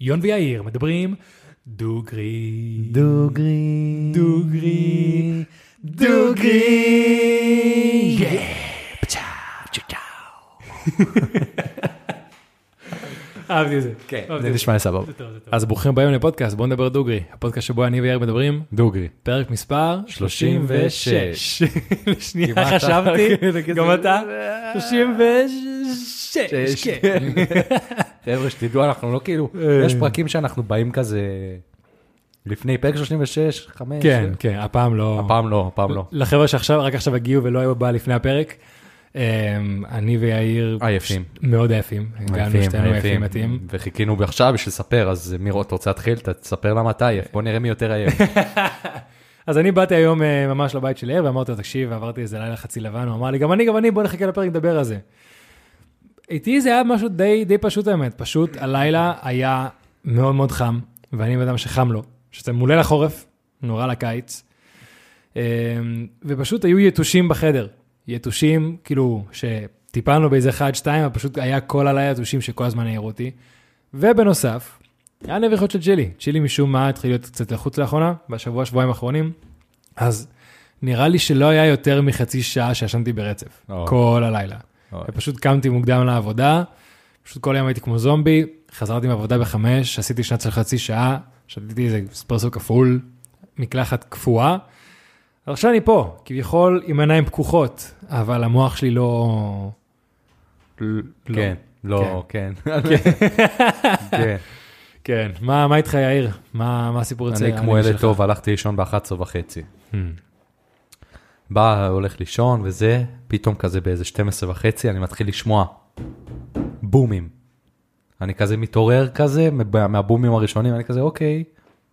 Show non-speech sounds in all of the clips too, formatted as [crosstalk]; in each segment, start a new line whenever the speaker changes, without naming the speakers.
יון ויאיר מדברים דוגרי.
דוגרי.
דוגרי.
דוגרי.
[laughs]
אהבתי את זה.
כן,
אוקיי.
אהבתי
זה
את
נשמע לי סבבה.
זה טוב, זה טוב.
אז ברוכים ביום לפודקאסט, בואו נדבר דוגרי. הפודקאסט שבו אני ויאיר מדברים,
דוגרי.
פרק מספר
36.
[laughs] לשנייה
כמעט
חשבתי, גם
[laughs]
אתה,
36,
36, כן.
[laughs] חבר'ה, שתדעו, אנחנו לא כאילו,
אה.
יש פרקים שאנחנו באים כזה לפני פרק 36, 5.
כן, כן, הפעם לא.
הפעם לא, הפעם לא.
לחבר'ה שעכשיו, רק עכשיו הגיעו ולא היו בא לפני הפרק, אמ, אני ויאיר...
עייפים.
ש- מאוד אה, עייפים. הגענו שתינו עייפים מתאים.
וחיכינו עכשיו בשביל לספר, אז מירו, אתה רוצה להתחיל? ת- תספר למה אתה עייף, בוא נראה מי יותר עייף.
אז אני באתי היום אה, ממש לבית של יאיר ואמרתי לו, תקשיב, עברתי איזה לילה חצי לבן, הוא אמר לי, גם אני, גם אני, בוא נחכה לפרק, נדבר על זה. איתי זה היה משהו די, די פשוט האמת, פשוט הלילה היה מאוד מאוד חם, ואני בן אדם שחם לו, שזה מולה לחורף, נורא לקיץ, אה, ופשוט היו יתושים בחדר, יתושים, כאילו, שטיפלנו באיזה אחד, שתיים, אבל פשוט היה כל הלילה יתושים שכל הזמן העירו אותי, ובנוסף, היה נביחות של צ'ילי, צ'ילי משום מה התחיל להיות קצת לחוץ לאחרונה, בשבוע, שבועיים האחרונים, אז נראה לי שלא היה יותר מחצי שעה שישנתי ברצף,
או.
[laughs] כל הלילה.
אוי.
ופשוט קמתי מוקדם לעבודה, פשוט כל יום הייתי כמו זומבי, חזרתי מעבודה בחמש, עשיתי שנת של חצי שעה, שתיתי איזה אספרסו כפול, מקלחת קפואה. עכשיו אני פה, כביכול עם עיניים פקוחות, אבל המוח שלי לא... לא.
כן, לא, כן. [laughs] כן.
כן, מה, מה איתך יאיר? מה, מה הסיפור אצל
אני כמו
שלך?
ילד טוב, הלכתי לישון ב-11 וחצי. בא, הולך לישון וזה, פתאום כזה באיזה 12 וחצי, אני מתחיל לשמוע בומים. אני כזה מתעורר כזה, מה- מהבומים הראשונים, אני כזה, אוקיי,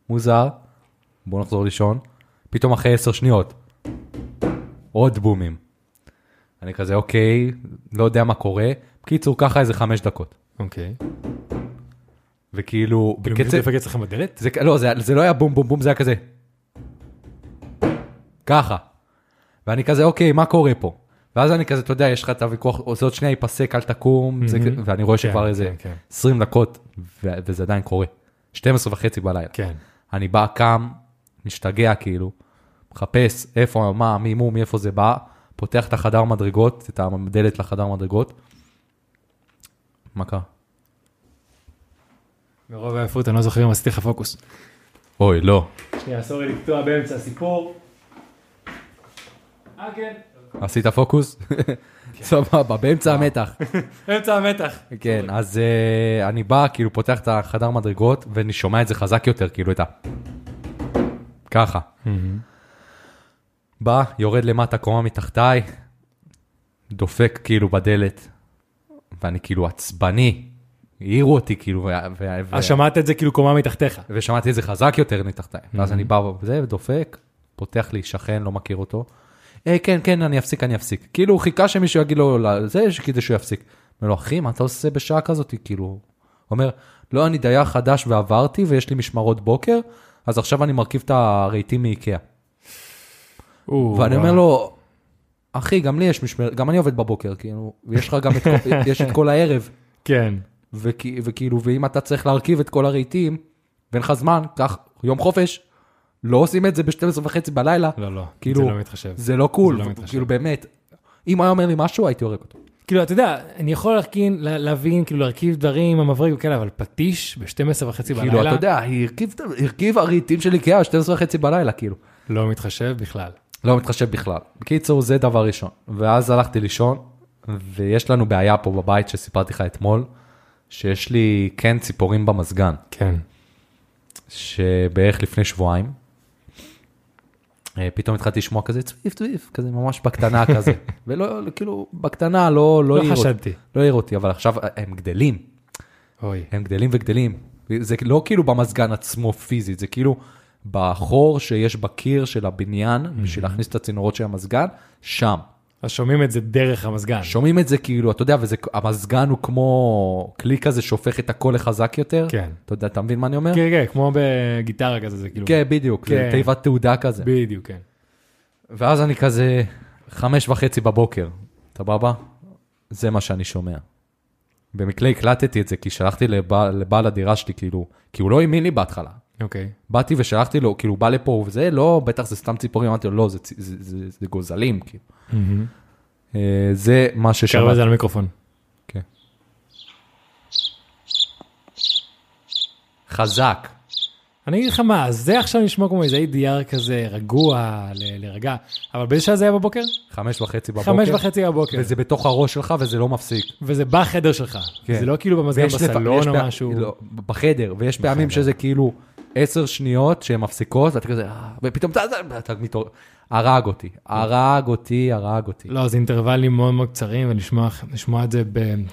מוזר, בואו נחזור לישון. פתאום אחרי 10 שניות, עוד בומים. אני כזה, אוקיי, לא יודע מה קורה. בקיצור, ככה איזה 5 דקות.
אוקיי.
וכאילו,
כאילו מישהו דופק אצלכם בדלת?
זה, לא, זה, זה לא היה בום בום בום, זה היה כזה. ככה. ואני כזה, אוקיי, מה קורה פה? ואז אני כזה, אתה יודע, יש לך את הוויכוח, זה עוד שנייה ייפסק, אל תקום, זה,
מהמם.
ואני רואה
כן,
שכבר איזה
כן, כן.
20 דקות, ו- וזה עדיין קורה. 12 וחצי בלילה.
כן.
אני בא, קם, משתגע כאילו, מחפש איפה, מה, מי מו, מאיפה זה בא, פותח את החדר מדרגות, את הדלת לחדר מדרגות. מה קרה?
מרוב העייפות אני לא זוכר אם עשיתי לך פוקוס.
אוי, לא.
שנייה, סורי לקטוע באמצע הסיפור. אה, כן.
עשית פוקוס? סבבה, באמצע המתח.
אמצע המתח.
כן, אז אה, אני בא, כאילו פותח את החדר מדרגות, ואני שומע את זה חזק יותר, כאילו את ה... ככה. בא, יורד למטה, קומה מתחתיי, דופק כאילו בדלת, ואני כאילו עצבני, העירו אותי כאילו, ו- ו- ו-
אז שמעת את זה כאילו קומה מתחתיך.
ושמעתי את זה חזק יותר מתחתיי. ואז אני בא וזה, ודופק, פותח לי שכן, לא מכיר אותו. אה, כן, כן, אני אפסיק, אני אפסיק. כאילו, הוא חיכה שמישהו יגיד לו, לא, זה, ש- כדי שהוא יפסיק. אומר לו, אחי, מה אתה עושה בשעה כזאת? כאילו, הוא אומר, לא, אני דייר חדש ועברתי, ויש לי משמרות בוקר, אז עכשיו אני מרכיב את הרהיטים מאיקאה. ואני
לא.
אומר לו, אחי, גם לי יש משמרת, גם אני עובד בבוקר, כאילו, ויש לך גם את, כל- יש את כל הערב.
כן.
וכי- וכאילו, ואם אתה צריך להרכיב את כל הרהיטים, ואין לך זמן, קח יום חופש, לא עושים את זה ב-12 וחצי בלילה,
לא, לא.
כאילו,
זה לא מתחשב.
זה לא קול,
זה לא
ו-
מתחשב.
כאילו באמת, אם היה אומר לי משהו, הייתי הורג אותו.
כאילו, אתה יודע, אני יכול להרכין, לה- להבין, כאילו, להרכיב דברים, המברג וכאלה, אבל פטיש ב-12 וחצי בלילה,
כאילו, אתה יודע, הרכיב- הרכיב הרהיטים של איקאה, 12 וחצי בלילה, כאילו.
לא מתחשב בכלל.
לא מתחשב בכלל. בקיצור, זה דבר ראשון. ואז הלכתי לישון, ויש לנו בעיה פה בבית שסיפרתי לך אתמול, שיש לי כן ציפורים במזגן.
כן.
שבערך לפני שבועיים, אה, פתאום התחלתי לשמוע כזה צביף צביף, כזה ממש בקטנה
[laughs]
כזה, ולא, כאילו, בקטנה לא, לא,
לא
העיר אותי.
חשדתי.
לא העיר אותי, אבל עכשיו אה, הם גדלים,
אוי.
הם גדלים וגדלים. זה לא כאילו במזגן עצמו פיזית, זה כאילו בחור שיש בקיר של הבניין,
Mhm.
בשביל להכניס את הצינורות של המזגן, שם.
אז שומעים את זה דרך המזגן.
שומעים את זה כאילו, אתה יודע, והמזגן הוא כמו כלי כזה שהופך את הקול לחזק יותר.
כן.
אתה יודע, אתה מבין מה אני אומר?
כן, כן, כמו בגיטרה כזה, זה כאילו...
כן, בדיוק, זה
כן.
תיבת תעודה כזה.
בדיוק, כן.
ואז אני כזה, חמש וחצי בבוקר, סבבה? זה מה שאני שומע. במקרה הקלטתי את זה, כי שלחתי לבעל, לבעל הדירה שלי, כאילו, כי הוא לא האמין לי בהתחלה.
אוקיי.
באתי ושלחתי לו, כאילו, בא לפה וזה, לא, בטח זה סתם ציפורים, אמרתי לו, לא, זה, צי- זה, זה, זה גוזלים, כאילו. אה, זה מה
קרב את
ששמעתי.
Mm-hmm. זה על מיקרופון.
כן. חזק.
אני אגיד לך מה, זה עכשיו נשמע כמו איזה ADR כזה רגוע, ל- להירגע, אבל באיזה שעה זה היה בבוקר?
חמש וחצי בבוקר.
חמש וחצי כן. בבוקר,
וזה בתוך הראש שלך וזה לא מפסיק.
וזה בחדר שלך.
כן.
זה לא כאילו במזגן
ויש לפ-
בסלון
יש
או
פע-
משהו.
לא, בחדר, ויש פעמים שזה כאילו עשר שניות שהן מפסיקות, ואתה כזה, "אה", ופתאום אתה- אתה אתה מתעורר. הרג אותי, הרג אותי, הרג אותי.
לא, זה אינטרוולים מאוד מאוד קצרים, ולשמוע לשמוע את זה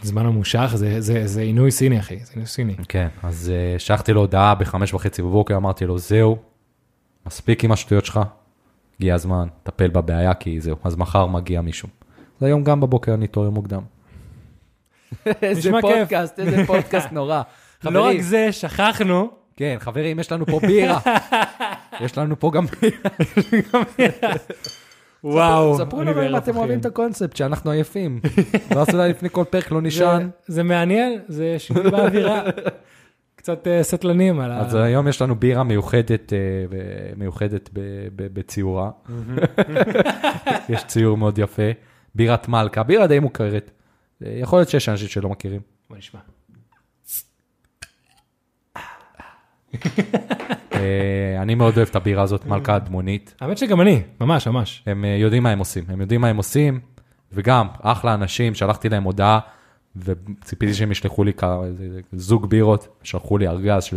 בזמן ממושך, זה- זה זה עינוי סיני, אחי, זה עינוי סיני.
כן, אז אה, שלחתי לו הודעה בחמש וחצי בבוקר, אמרתי לו, זהו, מספיק עם השטויות שלך, הגיע הזמן, טפל בבעיה, כי זהו, אז מחר מגיע מישהו. אז היום גם בבוקר אני אתעורר מוקדם. [laughs] איזה
נשמע כיף.
פודקאסט, איזה פודקאסט נורא.
לא רק
חברים,
זה, שכחנו,
כן, חברים, יש לנו פה [laughs] בירה. יש לנו פה גם בירה.
וואו,
ספרו
אני
לנו אם
בערב,
אתם
אחי.
אוהבים את הקונספט, שאנחנו עייפים. [laughs] ואז אולי לפני כל פרק לא
זה-
נשען.
זה מעניין, זה שינוי
[laughs]
באווירה. קצת אה, סטלנים על ה...
אז היום יש לנו בירה מיוחדת, אה, ו- מיוחדת ב- ב- בציורה. [laughs] יש ציור מאוד יפה. בירת מלכה, בירה די מוכרת. אה, יכול להיות שיש אנשים שלא מכירים.
בוא נשמע.
אה, אני מאוד אוהב את הבירה הזאת, מלכה אדמונית.
האמת שגם אני, ממש, ממש.
הם אה, יודעים מה הם עושים, הם יודעים מה הם עושים, וגם, אחלה אנשים, שלחתי להם הודעה, וציפיתי שהם ישלחו לי כ- איזה- איזה זוג בירות, שלחו לי ארגז של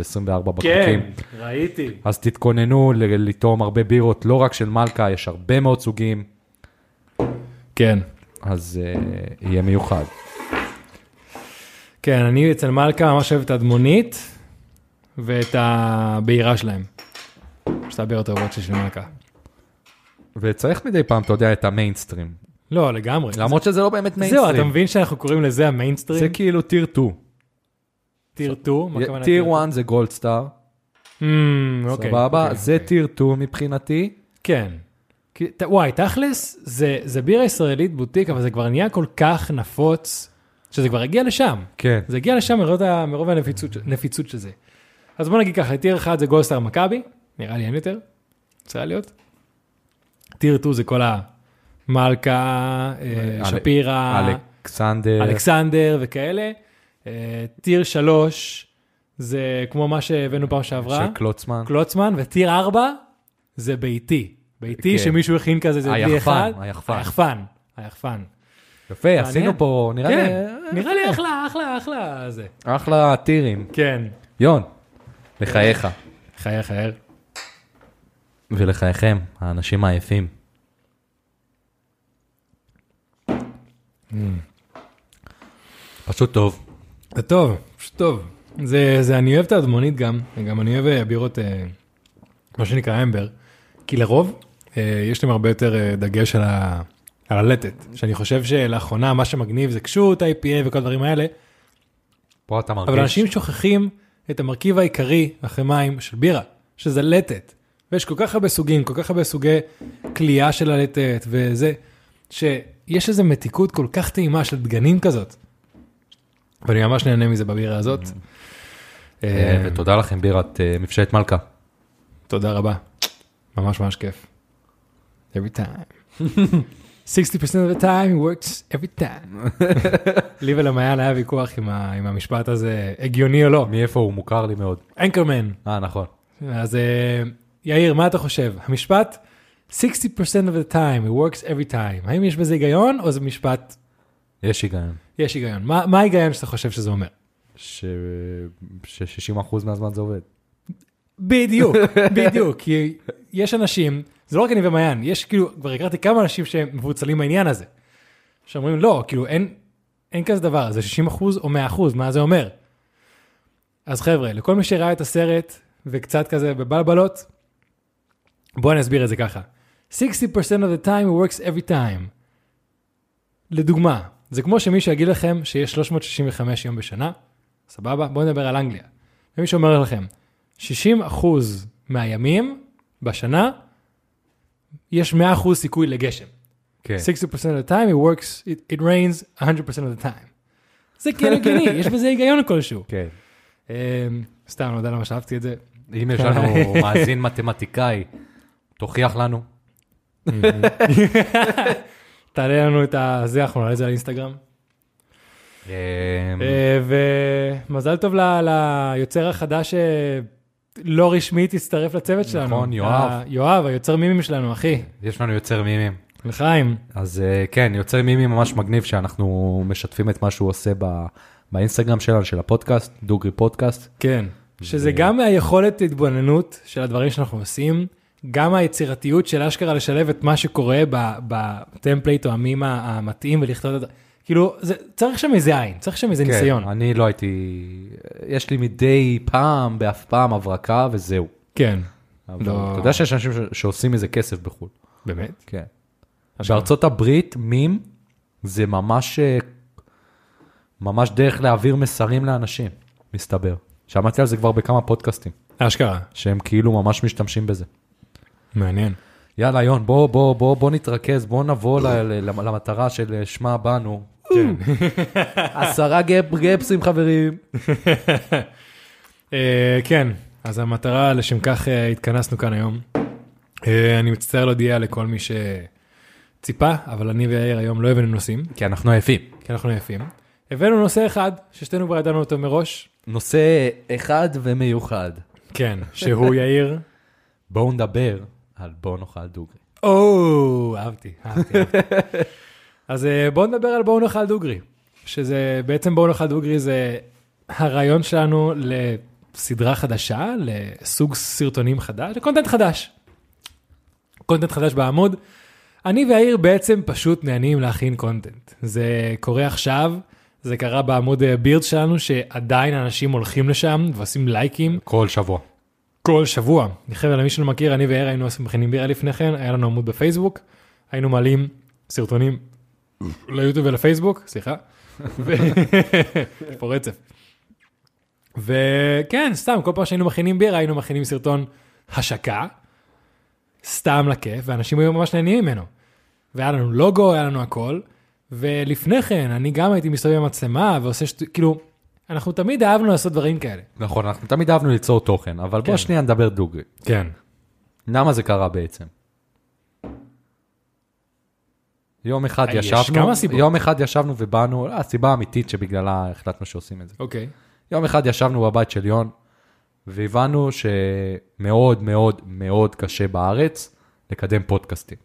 כן.
24 בקבוקים.
ראיתי.
אז תתכוננו ל- לטעום הרבה בירות, לא רק של מלכה, יש הרבה מאוד סוגים,
כן.
אז אה, יהיה מיוחד.
כן, אני אצל מלכה ממש אוהב את האדמונית ואת הבעירה שלהם. שתי הבעירות האהובות שלי של מלכה.
וצריך מדי פעם, אתה יודע, את המיינסטרים.
לא, לגמרי.
למרות שזה לא באמת
זהו, אתה
מיינסטרים.
מבין שאנחנו קוראים לזה
זה
המיינסטרים?
כאילו טיר 2.
טיר 2? מה הכוונה?
טיר 1 זה גולד סטאר,
two? Hmm, אוקיי.
סבבה?
אוקיי,
זה
אוקיי.
טיר 2 מבחינתי.
כן. כי- ת- וואי, תכלס, זה- זה בירה ישראלית בוטיק, אבל זה כבר נהיה כל כך נפוץ, שזה כבר הגיע לשם.
כן.
זה הגיע לשם מרוב ה- מרוב הנפיצות הנפיצות של זה. אז בוא נגיד ככה, טיר אחד זה גולדסטאר מכבי, נראה לי אין יותר, צריך להיות. טיר 2 זה כל המלכה, אה,
אל-
שפירא,
אלכסנדר.
אלכסנדר וכאלה. אה, טיר 3 זה כמו מה שהבאנו פעם שעברה,
של קלוצמן.
קלוצמן, וטיר 4 זה ביתי. ביתי
כן.
שמישהו הכין כזה, זה
היחפן,
בלי אחד.
היחפן.
היחפן, היחפן.
יפה, עשינו פה, נראה לי,
כן, נראה לי אחלה, אחלה, אחלה זה.
אחלה טירים.
כן.
יון, לחייך.
חייך, חייך.
ולחייכם, האנשים העייפים. Mm. פשוט טוב.
זה טוב, פשוט טוב. זה, זה, אני אוהב את האדמונית גם, גם אני אוהב אה, בירות, אה, מה שנקרא אמבר, כי לרוב אה, יש להם הרבה יותר אה, דגש על, ה, על הלטת, שאני חושב שלאחרונה מה שמגניב זה קשוט, IPA וכל הדברים האלה,
פה אתה מרגיש.
אבל אנשים שוכחים את המרכיב העיקרי אחרי מים של בירה, שזה לטת. ויש כל כך הרבה סוגים, כל כך הרבה סוגי כליאה של הלטת וזה, שיש איזו מתיקות כל כך טעימה של דגנים כזאת. ואני ממש נהנה מזה בבירה הזאת.
אה,
אה,
ותודה לכם בירת אה, מפשט מלכה.
תודה רבה. ממש ממש כיף. every time.
[laughs]
60% of the time it works every time.
[laughs]
לי ולמעיין היה ויכוח עם ה- עם המשפט הזה, הגיוני או לא.
מאיפה הוא מוכר לי מאוד.
אנקרמן.
אה, נכון.
אז אה, יאיר, מה אתה חושב? המשפט 60% of the time, it works every time. האם יש בזה היגיון או זה משפט,
יש היגיון.
יש היגיון? מה מה ההיגיון שאתה חושב שזה אומר?
ש-60% מהזמן זה עובד.
בדיוק, בדיוק, כי יש אנשים, זה לא רק אני ומעיין, יש כאילו, כבר הכרתי כמה אנשים שמבוצלים בעניין הזה. שאומרים לא, כאילו אין, אין כזה דבר, זה 60% או 100%, מה זה אומר? אז חבר'ה, לכל מי שראה את הסרט וקצת כזה בבלבלות, בואו אני אסביר את זה ככה. 60% of the time it works every time. לדוגמה, זה כמו שמישהו יגיד לכם שיש 365 יום בשנה, סבבה? בואו נדבר על אנגליה. ומישהו אומר לכם, 60% מהימים בשנה, יש 100% סיכוי לגשם.
כן.
60% of the time it works, it, it rains 100% of the time. זה כאילו
[laughs]
הגיוני, יש בזה היגיון כלשהו.
כן.
אה, סתם, לא יודע למה שאהבתי את זה.
אם יש לנו מאזין מתמטיקאי, תוכיח לנו.
תעלה לנו את הזה, אנחנו נעלה את זה על אינסטגרם.
Mm. אה,
אה, ומזל טוב ל- ליוצר החדש אה, שלא רשמית הצטרף לצוות שלנו.
נכון, יואב.
ה- יואב, היוצר מימים שלנו, אחי.
יש לנו יוצר מימים.
לחיים.
אז אה, כן, יוצר מימים ממש מגניב שאנחנו משתפים את מה שהוא עושה ב- באינסטגרם שלנו, של הפודקאסט, דוגרי פודקאסט.
כן. שזה גם היכולת התבוננות של הדברים שאנחנו עושים, גם היצירתיות של אשכרה לשלב את מה שקורה ב- בטמפלייט או המים ה- המתאים ולכתוב את זה. כאילו, זה, צריך שם איזה עין, צריך שם איזה
כן,
ניסיון.
אני לא הייתי, יש לי מדי פעם, באף פעם, הברקה וזהו.
כן.
אבל
לא.
אתה יודע שיש אנשים ש- שעושים מזה כסף בחו"ל.
באמת?
כן. בארצות הברית, מים זה ממש, אה, ממש דרך להעביר מסרים לאנשים, מסתבר. שמעתי על זה כבר בכמה פודקאסטים,
אשכרה.
שהם כאילו ממש משתמשים בזה.
מעניין.
יאללה, יון, בוא, בוא, בוא, בוא נתרכז, בוא נבוא ל- ל- למטרה של אה, שמה כן. באנו. [laughs] עשרה גפ, גפסים חברים.
אה, כן, אז המטרה לשם כך אה, התכנסנו כאן היום. אה, אני מצטער להודיע לכל מי שציפה, אבל אני ויאיר היום לא הבאנו נושאים,
כי אנחנו עייפים.
כי אנחנו עייפים. הבאנו נושא אחד, ששתינו כבר ידענו אותו מראש,
נושא אחד ומיוחד.
כן, שהוא יאיר.
בואו נדבר על בואו נאכל דוגרי.
[laughs] או, אהבתי, אהבתי. [laughs] אהבתי. אז אה, בואו נדבר על בואו נאכל דוגרי, שזה בעצם בואו נאכל דוגרי זה הרעיון שלנו לסדרה חדשה, לסוג סרטונים חדש, לקונטנט חדש. קונטנט חדש בעמוד. אני והעיר בעצם פשוט נהנים להכין קונטנט. זה קורה עכשיו, זה קרה בעמוד אה, בירד שלנו, שעדיין אנשים הולכים לשם ועושים לייקים.
כל שבוע.
כל שבוע. חבר'ה, למי שלא מכיר, אני ואיר היינו עושים מכינים בירה לפני כן, היה לנו עמוד בפייסבוק, היינו מעלים סרטונים ליוטיוב ולפייסבוק, סליחה. ו- [laughs] יש פה רצף. וכן, סתם, כל פעם שהיינו מכינים בירה, היינו מכינים סרטון השקה, סתם לכיף, ואנשים היו ממש נהנים ממנו. והיה לנו לוגו, היה לנו הכל, ולפני כן, אני גם הייתי מסתובב עם המצלמה ועושה שטו... כאילו, אנחנו תמיד אהבנו לעשות דברים כאלה.
נכון, אנחנו תמיד אהבנו ליצור תוכן, אבל בוא
כן.
שנייה נדבר דוגרי.
כן.
למה זה קרה בעצם? יום אחד
אה, יש
ישבנו,
כמה סיבות.
יום אחד ישבנו ובאנו, אה, הסיבה האמיתית שבגללה החלטנו שעושים את זה.
אוקיי.
יום אחד ישבנו בבית של יון, והבנו שמאוד מאוד מאוד קשה בארץ לקדם פודקאסטים.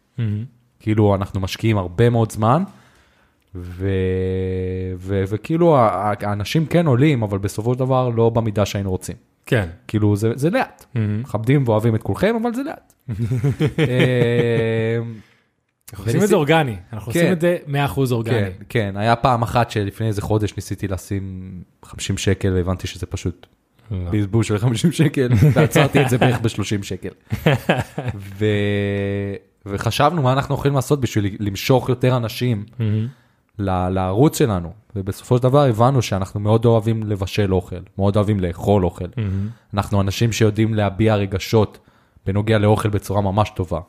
כאילו, אנחנו משקיעים הרבה מאוד זמן, ו... ו... וכאילו, ה- ה- האנשים כן עולים, אבל בסופו של דבר לא במידה שהיינו רוצים.
כן.
כאילו, זה, זה לאט.
Mm-hmm.
מכבדים ואוהבים את כולכם, אבל זה
[laughs]
לאט. אמ, אה,
אנחנו עושים את זה אורגני, אנחנו
כן.
עושים את זה 100%
כן,
אורגני.
כן, היה פעם אחת שלפני איזה חודש ניסיתי לשים 50 שקל, והבנתי שזה פשוט
לא.
בזבוז של 50 שקל, [laughs] ועצרתי את זה בערך ב-30 שקל. ו... וחשבנו מה אנחנו יכולים לעשות בשביל למשוך יותר אנשים
מהמם.
ל- לערוץ שלנו, ובסופו של דבר הבנו שאנחנו מאוד אוהבים לבשל אוכל, מאוד אוהבים לאכול אוכל. אנחנו אנשים שיודעים להביע רגשות בנוגע לאוכל בצורה ממש טובה.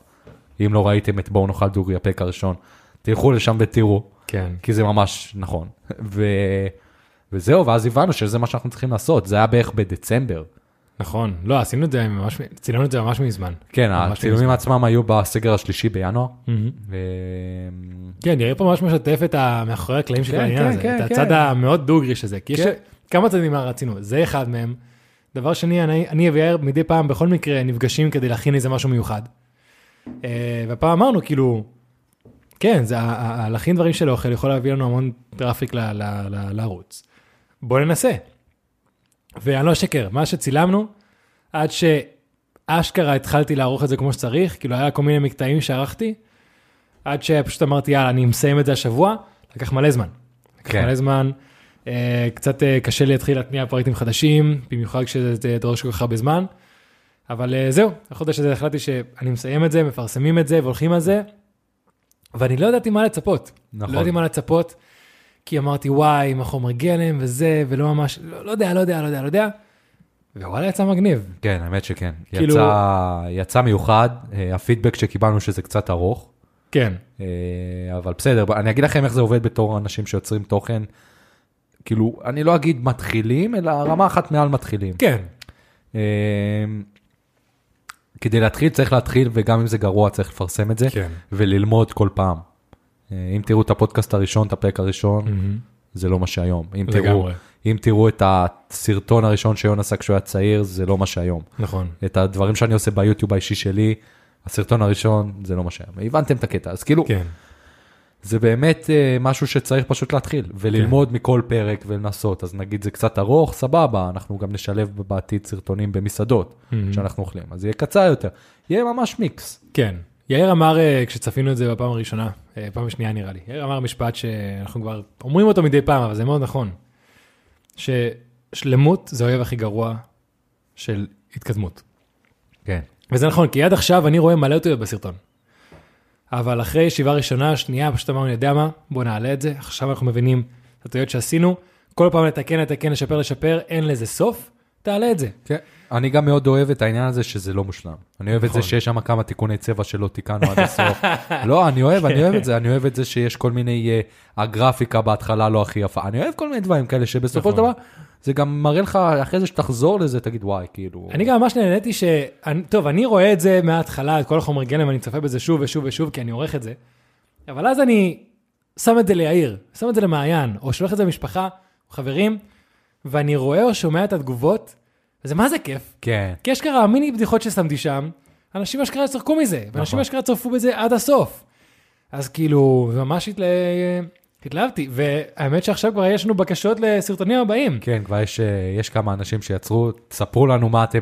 אם לא ראיתם את בואו נאכל דוגרי הפק הראשון, תלכו לשם ותראו,
כן.
כי זה ממש נכון. ו... וזהו, ואז הבנו שזה מה שאנחנו צריכים לעשות, זה היה בערך בדצמבר.
נכון. לא, עשינו את זה ממש, צילמנו את זה ממש מזמן.
כן,
ממש
הצילומים
מזמן.
עצמם היו בסגר השלישי בינואר.
מהמם.
ו...
כן, יאיר פה ממש משתף את ה- מאחורי הקלעים של
כן,
העניין
כן,
הזה,
כן,
את
כן.
הצד המאוד דוגרי של זה. כי יש
כן.
כמה צדדים מה רצינו, זה אחד מהם. דבר שני, אני אני ויאיר מדי פעם בכל מקרה נפגשים כדי להכין איזה משהו מיוחד. אה, והפעם אמרנו, כאילו, כן, זה ה- ה- ה- להכין דברים של אוכל יכול להביא לנו המון טראפיק ל- ל- ל- לערוץ. בוא ננסה. ואני לא אשקר, מה שצילמנו, עד שאשכרה התחלתי לערוך את זה כמו שצריך, כאילו היה כל מיני מקטעים שערכתי, עד שפשוט אמרתי, יאללה, אני מסיים את זה השבוע, לקח מלא זמן. לקח
כן.
מלא זמן, אה, קצת אה, קשה לי להתחיל להתניע פריטים חדשים, במיוחד כשזה דורש כל כך הרבה זמן, אבל אה, זהו, החודש הזה החלטתי שאני מסיים את זה, מפרסמים את זה והולכים על זה, ואני לא ידעתי מה לצפות.
נכון.
לא ידעתי מה לצפות, כי אמרתי, וואי, עם החומר גלם וזה, ולא ממש, לא, לא יודע, לא יודע, לא יודע, לא יודע. ווואלה, יצא מגניב.
כן, האמת שכן.
כאילו-
יצא, יצא מיוחד, אה, הפידבק שקיבלנו שזה קצת ארוך,
כן.
אה, אבל בסדר, בוא- אני אגיד לכם איך זה עובד בתור אנשים שיוצרים תוכן. כאילו, אני לא אגיד מתחילים, אלא רמה אחת מעל מתחילים.
כן.
אמ, כדי להתחיל צריך להתחיל וגם אם זה גרוע צריך לפרסם את זה
כן.
וללמוד כל פעם. אה, אם תראו את הפודקאסט הראשון, את הפרק
Mm-hmm.
הראשון, זה לא מה שהיום. אם תראו,
לגמרי.
אם תראו את הסרטון הראשון שיון עשה כשהוא היה צעיר, זה לא מה שהיום.
נכון.
את הדברים שאני עושה ביוטיוב האישי שלי, הסרטון הראשון, זה לא מה שהיום. הבנתם את הקטע, אז כאילו,
כן.
זה באמת אה, משהו שצריך פשוט להתחיל וללמוד כן. מכל פרק ולנסות אז נגיד זה קצת ארוך סבבה אנחנו גם נשלב בעתיד סרטונים במסעדות
Mhm.
mm-hmm. שאנחנו אוכלים אז יהיה קצר יותר יהיה ממש מיקס.
כן. יאיר אמר אה, כשצפינו את זה בפעם הראשונה, אה, פעם השנייה נראה לי, יאיר אמר משפט שאנחנו כבר אומרים אותו מדי פעם, אבל זה מאוד נכון, ששלמות זה האויב הכי גרוע של התקדמות.
כן.
וזה נכון, כי עד עכשיו אני רואה מלא אותיות בסרטון. אבל אחרי ישיבה ראשונה, שנייה, פשוט אמרנו, "אני יודע מה, בוא נעלה את זה, עכשיו אנחנו מבינים את הטעויות שעשינו, כל פעם לתקן, לתקן, לשפר, לשפר, אין לזה סוף, תעלה את זה.
כן. אני גם מאוד אוהב את העניין הזה שזה לא מושלם. אני אוהב את
נכון.
זה שיש שם כמה תיקוני צבע שלא תיקנו עד הסוף. [laughs] לא, אני אוהב, אני אוהב את זה, אני אוהב את זה שיש כל מיני, אה, הגרפיקה בהתחלה לא הכי יפה. אני אוהב כל מיני דברים כאלה שבסופו של
נכון.
דבר, זה גם מראה לך, אחרי זה שתחזור לזה, תגיד וואי, כאילו.
אני גם ממש נהניתי ש... אני- טוב, אני רואה את זה מההתחלה, את כל החומר גלם, אני צופה בזה שוב ושוב ושוב, כי אני עורך את זה. אבל אז אני שם את זה ליאיר, שם את זה למעיין, או שולח את זה למשפחה, חברים, ואני רואה או שומע את התגובות, וזה מה זה כיף.
כן.
כי אשכרה המיני בדיחות ששמתי שם, אנשים אשכרה צחקו מזה, ואנשים
נכון.
אשכרה צרפו בזה עד הסוף. אז כאילו, ממש התלה... התלהבתי, והאמת שעכשיו כבר יש לנו בקשות לסרטונים הבאים.
כן, כבר יש, אה, יש כמה אנשים שיצרו, תספרו לנו מה אתם,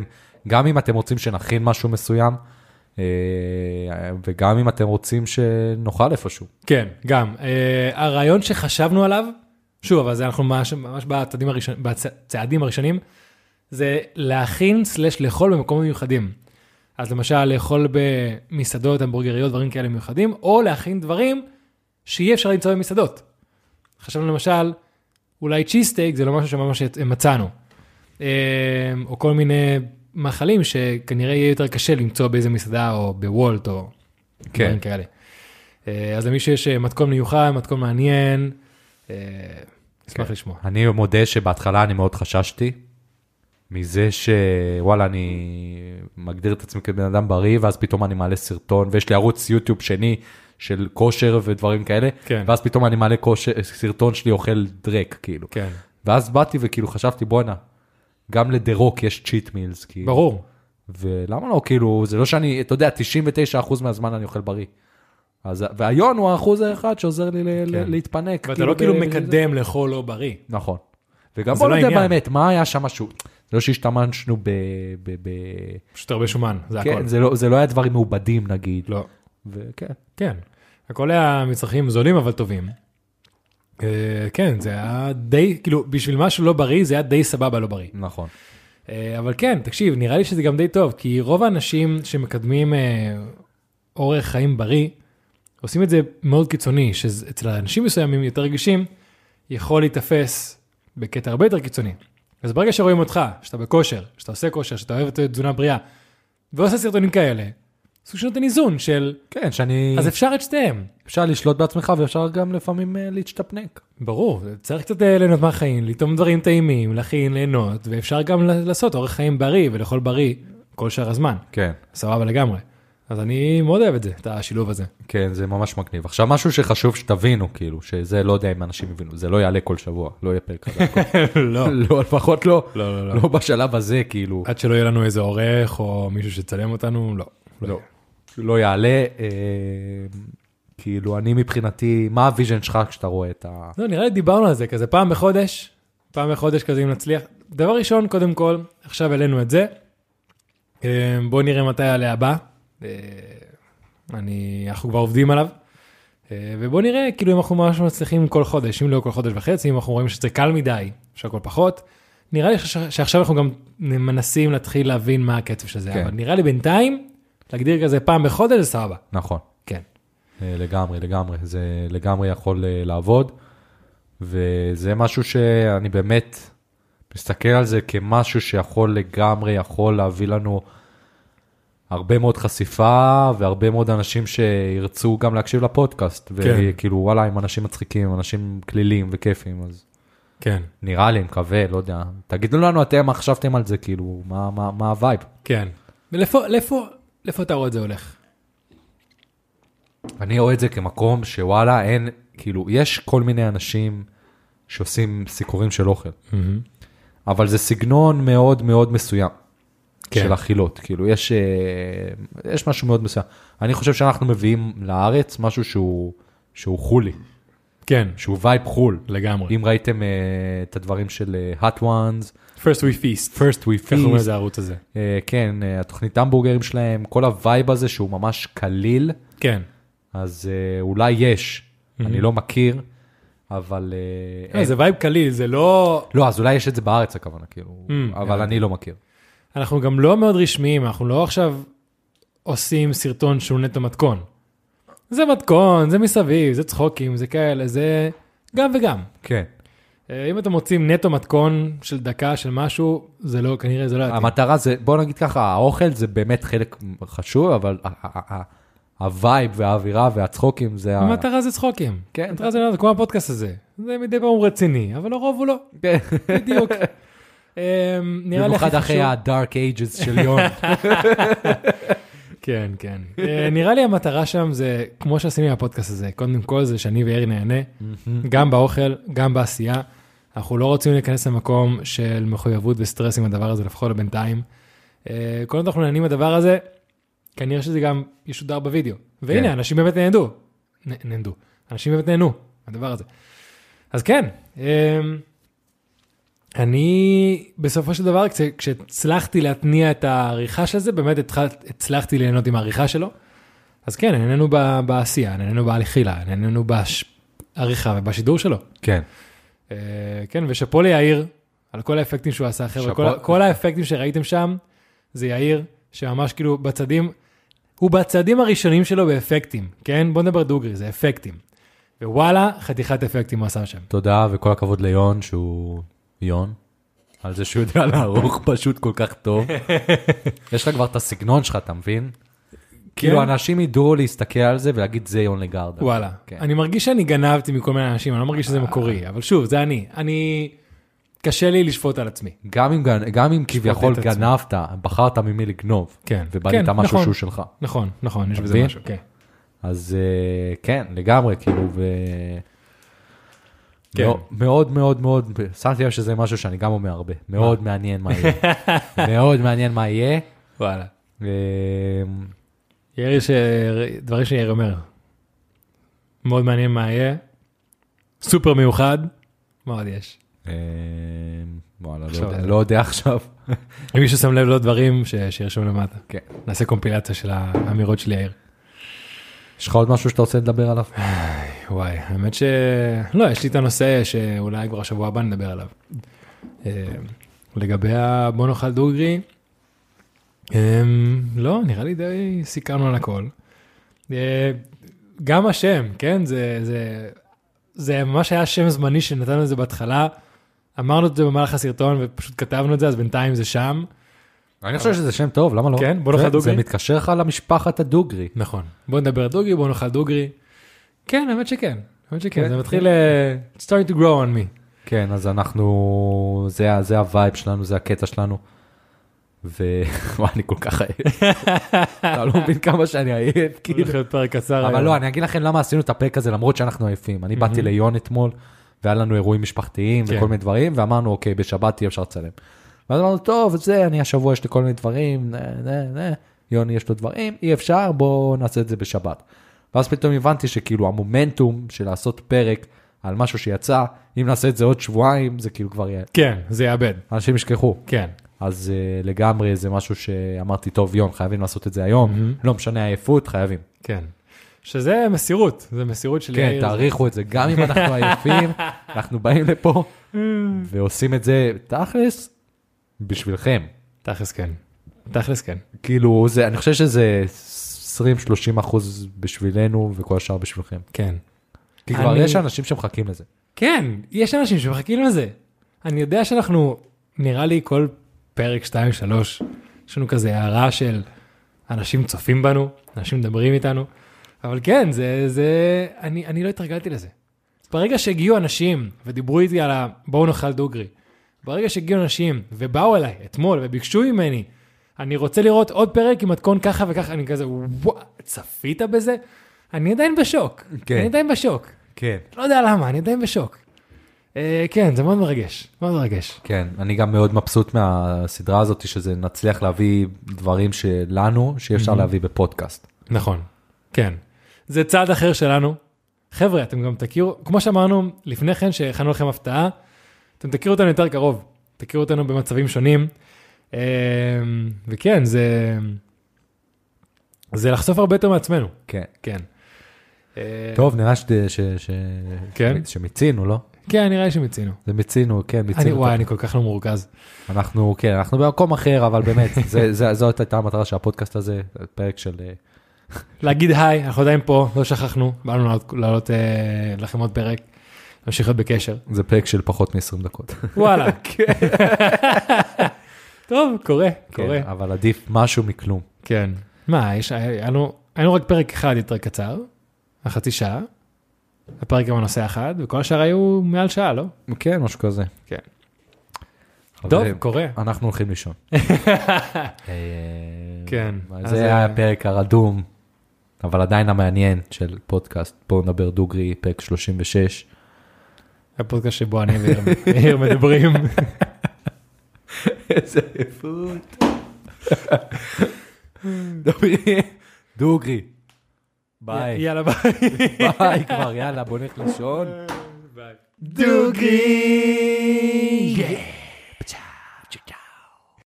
גם אם אתם רוצים שנכין משהו מסוים, אה, וגם אם אתם רוצים שנאכל איפשהו.
כן, גם. אה, הרעיון שחשבנו עליו, שוב, אבל זה אנחנו ממש, ממש בצעדים, הראשון, בצעדים הראשונים, זה להכין סלש לאכול במקומות מיוחדים. אז למשל, לאכול במסעדות, המבורגריות, דברים כאלה מיוחדים, או להכין דברים שאי אפשר למצוא במסעדות. חשבנו למשל, אולי צ'יסטייק זה לא משהו שממש מצאנו. אה, או כל מיני מאכלים שכנראה יהיה יותר קשה למצוא באיזה מסעדה או בוולט או
כן.
דברים כאלה. אה, אז למי שיש אה, מתכון מיוחד, מתכון מעניין, אה, אשמח
כן.
לשמוע.
אני מודה שבהתחלה אני מאוד חששתי מזה שוואלה, אני מגדיר את עצמי כבן אדם בריא, ואז פתאום אני מעלה סרטון, ויש לי ערוץ יוטיוב שני של כושר ודברים כאלה,
כן.
ואז פתאום אני מעלה כושר, סרטון שלי אוכל דרק, כאילו.
כן.
ואז באתי וכאילו חשבתי, בואנה, גם לדה-רוק יש צ'יט מילס, כאילו.
ברור.
ולמה לא, כאילו, זה לא שאני, אתה יודע, 99% מהזמן אני אוכל בריא. אז, והיון הוא האחוז האחד שעוזר לי ל- ל- להתפנק.
ואתה לא כאילו
ב-
מקדם לאכול לא בריא.
נכון. וגם
זה
בוא
לא
נודה
העניין.
באמת, מה היה שם משהו? זה לא שהשתמשנו ב... ב, ב...
פשוט הרבה שומן, זה הכל.
כן, זה לא, זה לא היה דברים מעובדים נגיד.
לא.
וכן.
כן. הכל היה מצרכים זולים אבל טובים. אה, כן, זה היה די, כאילו, בשביל משהו לא בריא, זה היה די סבבה לא בריא.
נכון.
אה, אבל כן, תקשיב, נראה לי שזה גם די טוב, כי רוב האנשים שמקדמים אה, אורח חיים בריא, עושים את זה מאוד קיצוני, שאצל אנשים מסוימים יותר רגישים, יכול להיתפס בקטע הרבה יותר קיצוני. אז ברגע שרואים אותך, שאתה בכושר, שאתה עושה כושר, שאתה אוהב את תזונה בריאה, ועושה סרטונים כאלה, סוג שנותן איזון של,
כן, שאני...
אז אפשר את שתיהם.
אפשר לשלוט בעצמך ואפשר גם לפעמים אה, להשתפנק.
ברור, צריך קצת אה, ליהנות מהחיים, לטעום דברים טעימים, להכין, ליהנות, ואפשר גם לעשות אורח חיים בריא ולאכול בריא כל שאר הזמן.
כן.
סבבה לגמרי. אז אני מאוד אוהב את זה, את השילוב הזה.
כן, זה ממש מגניב. עכשיו, משהו שחשוב שתבינו, כאילו, שזה, לא יודע אם אנשים יבינו, זה לא יעלה כל שבוע, לא יהיה פרק חדש.
[laughs] לא.
[laughs] לא, לפחות לא,
לא, לא, לא.
לא בשלב הזה, כאילו,
עד שלא יהיה לנו איזה עורך או מישהו שיצלם אותנו, לא.
לא. לא יעלה. אה, כאילו, אני מבחינתי, מה הוויז'ן שלך כשאתה רואה את ה...
לא, נראה לי דיברנו על זה כזה פעם בחודש, פעם בחודש כזה אם נצליח. דבר ראשון, קודם כל, עכשיו העלינו את זה. אה, בואו נראה מתי יעלה הבא. אה, אני, אנחנו כבר עובדים עליו. אה, ובואו נראה, כאילו, אם אנחנו ממש מצליחים כל חודש, אם לא כל חודש וחצי, אם אנחנו רואים שזה קל מדי, אפשר כל פחות. נראה לי ש- שעכשיו אנחנו גם מנסים להתחיל להבין מה הקצב של זה,
כן.
אבל נראה לי בינתיים, להגדיר כזה פעם בחודש זה סבבה.
נכון.
כן.
אה, לגמרי, לגמרי. זה לגמרי יכול אה, לעבוד, וזה משהו שאני באמת מסתכל על זה כמשהו שיכול לגמרי, יכול להביא לנו הרבה מאוד חשיפה, והרבה מאוד אנשים שירצו גם להקשיב לפודקאסט. כאילו,
כן.
וכאילו, וואלה, הם אנשים מצחיקים, אנשים כלילים וכיפים, אז
כן,
נראה לי, מקווה, לא יודע. תגידו לנו אתם מה חשבתם על זה, כאילו, מה- מה מה הווייב.
כן. ולאיפה, לאיפה, לאיפה אתה רואה את זה הולך?
אני רואה את זה כמקום שוואלה, אין, כאילו, יש כל מיני אנשים שעושים סיקורים של אוכל. אבל זה סגנון מאוד מאוד מסוים
כן.
כן. של אכילות, כאילו יש, אה, יש משהו מאוד מסוים. אני חושב שאנחנו מביאים לארץ משהו שהוא, שהוא חולי,
כן,
שהוא וייב חול.
לגמרי.
אם ראיתם אה, את הדברים של אה, hot ones,
First we feast.
first we
ככה אומר
feast,
זה הערוץ הזה.
אה, כן, אה, התוכנית המבורגרים שלהם, כל הווייב הזה שהוא ממש קליל,
כן.
אז אה, אולי יש,
Mhm.
אני לא מכיר, אבל... אה,
אה,
אין.
זה וייב קליל, זה לא...
לא, אז אולי יש את זה בארץ הכוונה, כאילו,
Mm,
אבל אני לא מכיר.
אנחנו גם לא מאוד רשמיים, אנחנו לא עכשיו עושים סרטון שהוא נטו מתכון. זה מתכון, זה מסביב, זה צחוקים, זה כאלה, זה גם וגם.
כן.
אה, אם אתם מוצאים נטו מתכון של דקה, של משהו, זה לא, כנראה זה לא יתאים.
המטרה זה, בוא נגיד ככה, האוכל זה באמת חלק חשוב, אבל ה- ה- ה- הווייב והאווירה והצחוקים זה... ה-
המטרה זה צחוקים.
כן.
המטרה זה לא, כמו הפודקאסט הזה. זה מדי פעם הוא רציני, אבל הרוב הוא לא,
כן. [laughs]
בדיוק. אמ, נראה לי הכי
במיוחד אחרי
חשוב-
ה-dark ages של
[laughs]
יון.
כן, כן. אה, נראה לי המטרה שם זה, כמו שעשינו עם הפודקאסט הזה, קודם כל זה שאני ואיר נהנה, גם באוכל, גם בעשייה. אנחנו לא רוצים להיכנס למקום של מחויבות וסטרס עם הדבר הזה, לפחות לא לבינתיים. אה, כל עוד אנחנו נהנים מהדבר הזה, כנראה שזה גם ישודר בווידאו. והנה,
כן.
אנשים באמת נהנו. נ- נהנו. אנשים באמת נהנו מהדבר הזה. אז כן, אמ, אני בסופו של דבר, כש- כשהצלחתי להתניע את העריכה של זה, באמת התחל- הצלחתי ליהנות עם העריכה שלו. אז כן, נהנינו ב- בעשייה, נהנינו בהליכילה, נהנינו בעריכה ובשידור שלו.
כן.
אה, כן, ושאפו ליאיר על כל האפקטים שהוא עשה, חבר'ה.
שאפו.
כל, ה- כל האפקטים שראיתם שם, זה יאיר, שממש כאילו בצדים, הוא בצדים הראשונים שלו באפקטים, כן? בוא נדבר דוגרי, זה אפקטים. ווואלה, חתיכת אפקטים הוא עשה שם.
תודה וכל הכבוד ליון שהוא יון, על זה שהוא יודע לערוך פשוט כל כך טוב. יש לך כבר את הסגנון שלך, אתה מבין?
כן.
כאילו אנשים ידעו להסתכל על זה ולהגיד זה יון לגרדה.
וואלה.
כן. אה.
אני מרגיש שאני גנבתי מכל מיני אנשים, אני לא מרגיש שזה מקורי, אבל שוב, זה אני. אני... קשה לי לשפוט על עצמי.
גם אם, גנ- גם אם כביכול
את עצמו.
גנבת, בחרת ממי לגנוב,
כן.
ובנית
כן,
משהו
נכון.
שהוא שלך.
נכון, נכון, יש בזה
מבין?
משהו, כן.
אז אה, כן, לגמרי, כאילו, ו...
כן.
מאו- מאוד מאוד מאוד, שמתי לב שזה משהו שאני גם אומר הרבה, מאוד מעניין מה
[laughs]
יהיה, מאוד מעניין מה יהיה.
וואלה.
אה,
יאיר, ש... דברים שיאיר אומר. מאוד מעניין מה יהיה. סופר מיוחד. מה עוד יש?
אה, וואלה, לא
עכשיו
יודע-
זה-
לא יודע עכשיו.
אם מישהו שם לב לעוד דברים, ש... שירשום למטה.
כן.
נעשה קומפילציה של האמירות של יאיר.
יש לך עוד משהו שאתה רוצה לדבר עליו?
אה. וואי, האמת ש... לא, יש לי את הנושא שאולי כבר השבוע הבא נדבר עליו. אה, לגבי ה... בוא נאכל דוגרי, אה, לא, נראה לי די סיכמנו על הכל. אה, גם השם, כן? זה, זה, זה ממש היה שם זמני שנתנו את זה בהתחלה. אמרנו את זה במהלך הסרטון ופשוט כתבנו את זה, אז בינתיים זה שם.
אני חושב שזה שם טוב, למה לא?
כן, בוא נאכל
זה-
דוגרי.
זה מתקשר לך למשפחת הדוגרי.
נכון. בוא נדבר דוגרי, בוא נאכל דוגרי. כן, האמת שכן. האמת שכן,
כן,
זה מתחיל... אה, It's starting to grow on me.
כן, אז אנחנו, זה, ה- זה הווייב שלנו, זה הקטע שלנו. [laughs] ווואי, אני כל כך עייף. אתה לא מבין כמה שאני עייף, כאילו.
הולך להיות פרק קצר.
אבל
היום.
לא, אני אגיד לכם למה עשינו את הפרק הזה, למרות שאנחנו עייפים. אני באתי ליון אתמול, והיה לנו אירועים משפחתיים
כן.
וכל מיני דברים, ואמרנו, אוקיי, בשבת אי אפשר לצלם. ואז אמרנו, טוב, זה, אני השבוע יש לי כל מיני דברים, נה, נה, נה. יוני יש לו דברים, אי אפשר, בואו נעשה את זה בשבת. ואז פתאום הבנתי שכאילו המומנטום של לעשות פרק על משהו שיצא, אם נעשה את זה עוד שבועיים, זה כאילו כבר יהיה,
כן, זה יאבד,
אנשים ישכחו.
כן.
אז uh, לגמרי זה משהו שאמרתי, טוב, יון, חייבים לעשות את זה היום, לא משנה העייפות, חייבים.
כן. שזה מסירות, זה מסירות של
כן,
יאיר.
תעריכו את זה, גם אם
[laughs]
אנחנו עייפים, אנחנו באים לפה ועושים את זה תכלס בשבילכם.
תכלס כן. תכלס כן.
כאילו, זה, אני חושב שזה 20-30 אחוז בשבילנו וכל השאר בשבילכם.
כן.
כי כבר
אני-
יש אנשים שמחכים לזה.
כן, יש אנשים שמחכים לזה. אני יודע שאנחנו, נראה לי כל פרק 2-3, יש לנו כזה הערה של אנשים צופים בנו, אנשים מדברים איתנו, אבל כן, זה, זה, אני, אני לא התרגלתי לזה. ברגע שהגיעו אנשים ודיברו איתי על ה... בואו נאכל דוגרי. ברגע שהגיעו אנשים ובאו אליי אתמול וביקשו ממני, אני רוצה לראות עוד פרק עם מתכון ככה וככה, אני כזה, וואו, צפית בזה? אני עדיין בשוק.
כן.
אני עדיין בשוק.
כן.
לא יודע למה, אני עדיין בשוק. אה, כן, זה מאוד מרגש, מאוד מרגש.
כן, אני גם מאוד מבסוט מהסדרה הזאת, שזה נצליח להביא דברים שלנו, שאי אפשר להביא בפודקאסט.
נכון, כן. זה צעד אחר שלנו. חבר'ה, אתם גם תכירו, כמו שאמרנו לפני כן, שהכנו לכם הפתעה, אתם תכירו אותנו יותר קרוב, תכירו אותנו במצבים שונים. אמ, וכן, זה... זה לחשוף הרבה יותר מעצמנו,
כן.
כן. אה,
טוב, נראה ש... ש... ש...
כן.
שמיצינו, לא?
כן, נראה לי שמיצינו.
זה מיצינו, כן,
אני,
מיצינו.
וואי,
את-
אני כל כך לא מורכז.
אנחנו, כן, אנחנו במקום אחר, אבל [laughs] באמת, זה- זה- זאת הייתה המטרה של הפודקאסט הזה, פרק של... אה,
להגיד היי, אנחנו עדיין פה, לא שכחנו, באנו לעלות- לעלות אה, לכם עוד פרק, נמשיך להיות
[laughs]
בקשר.
זה פרק של פחות מ-20 דקות.
וואלה. טוב, קורה, קורה.
כן, אבל עדיף משהו מכלום.
כן. מה, יש, היה לנו, היה לנו רק פרק אחד יותר קצר, החצי שעה, הפרק גם הנושא אחד, וכל השאר היו מעל שעה, לא?
כן, משהו כזה.
כן. טוב,
חברים,
קורה.
אנחנו
[laughs]
הולכים לישון. אה,
כן,
אבל
אז
זה
אה,
היה הפרק הרדום, אבל עדיין המעניין של פודקאסט, בואו נדבר דוגרי,
[laughs]
פרק 36.
הפודקאסט שבו אני [laughs] ואיר מדברים.
איזה [laughs] עייפות. דוגרי. ביי.
יאללה ביי.
ביי כבר, יאללה, בוא נלך לישון.
דוגרי. Yeah.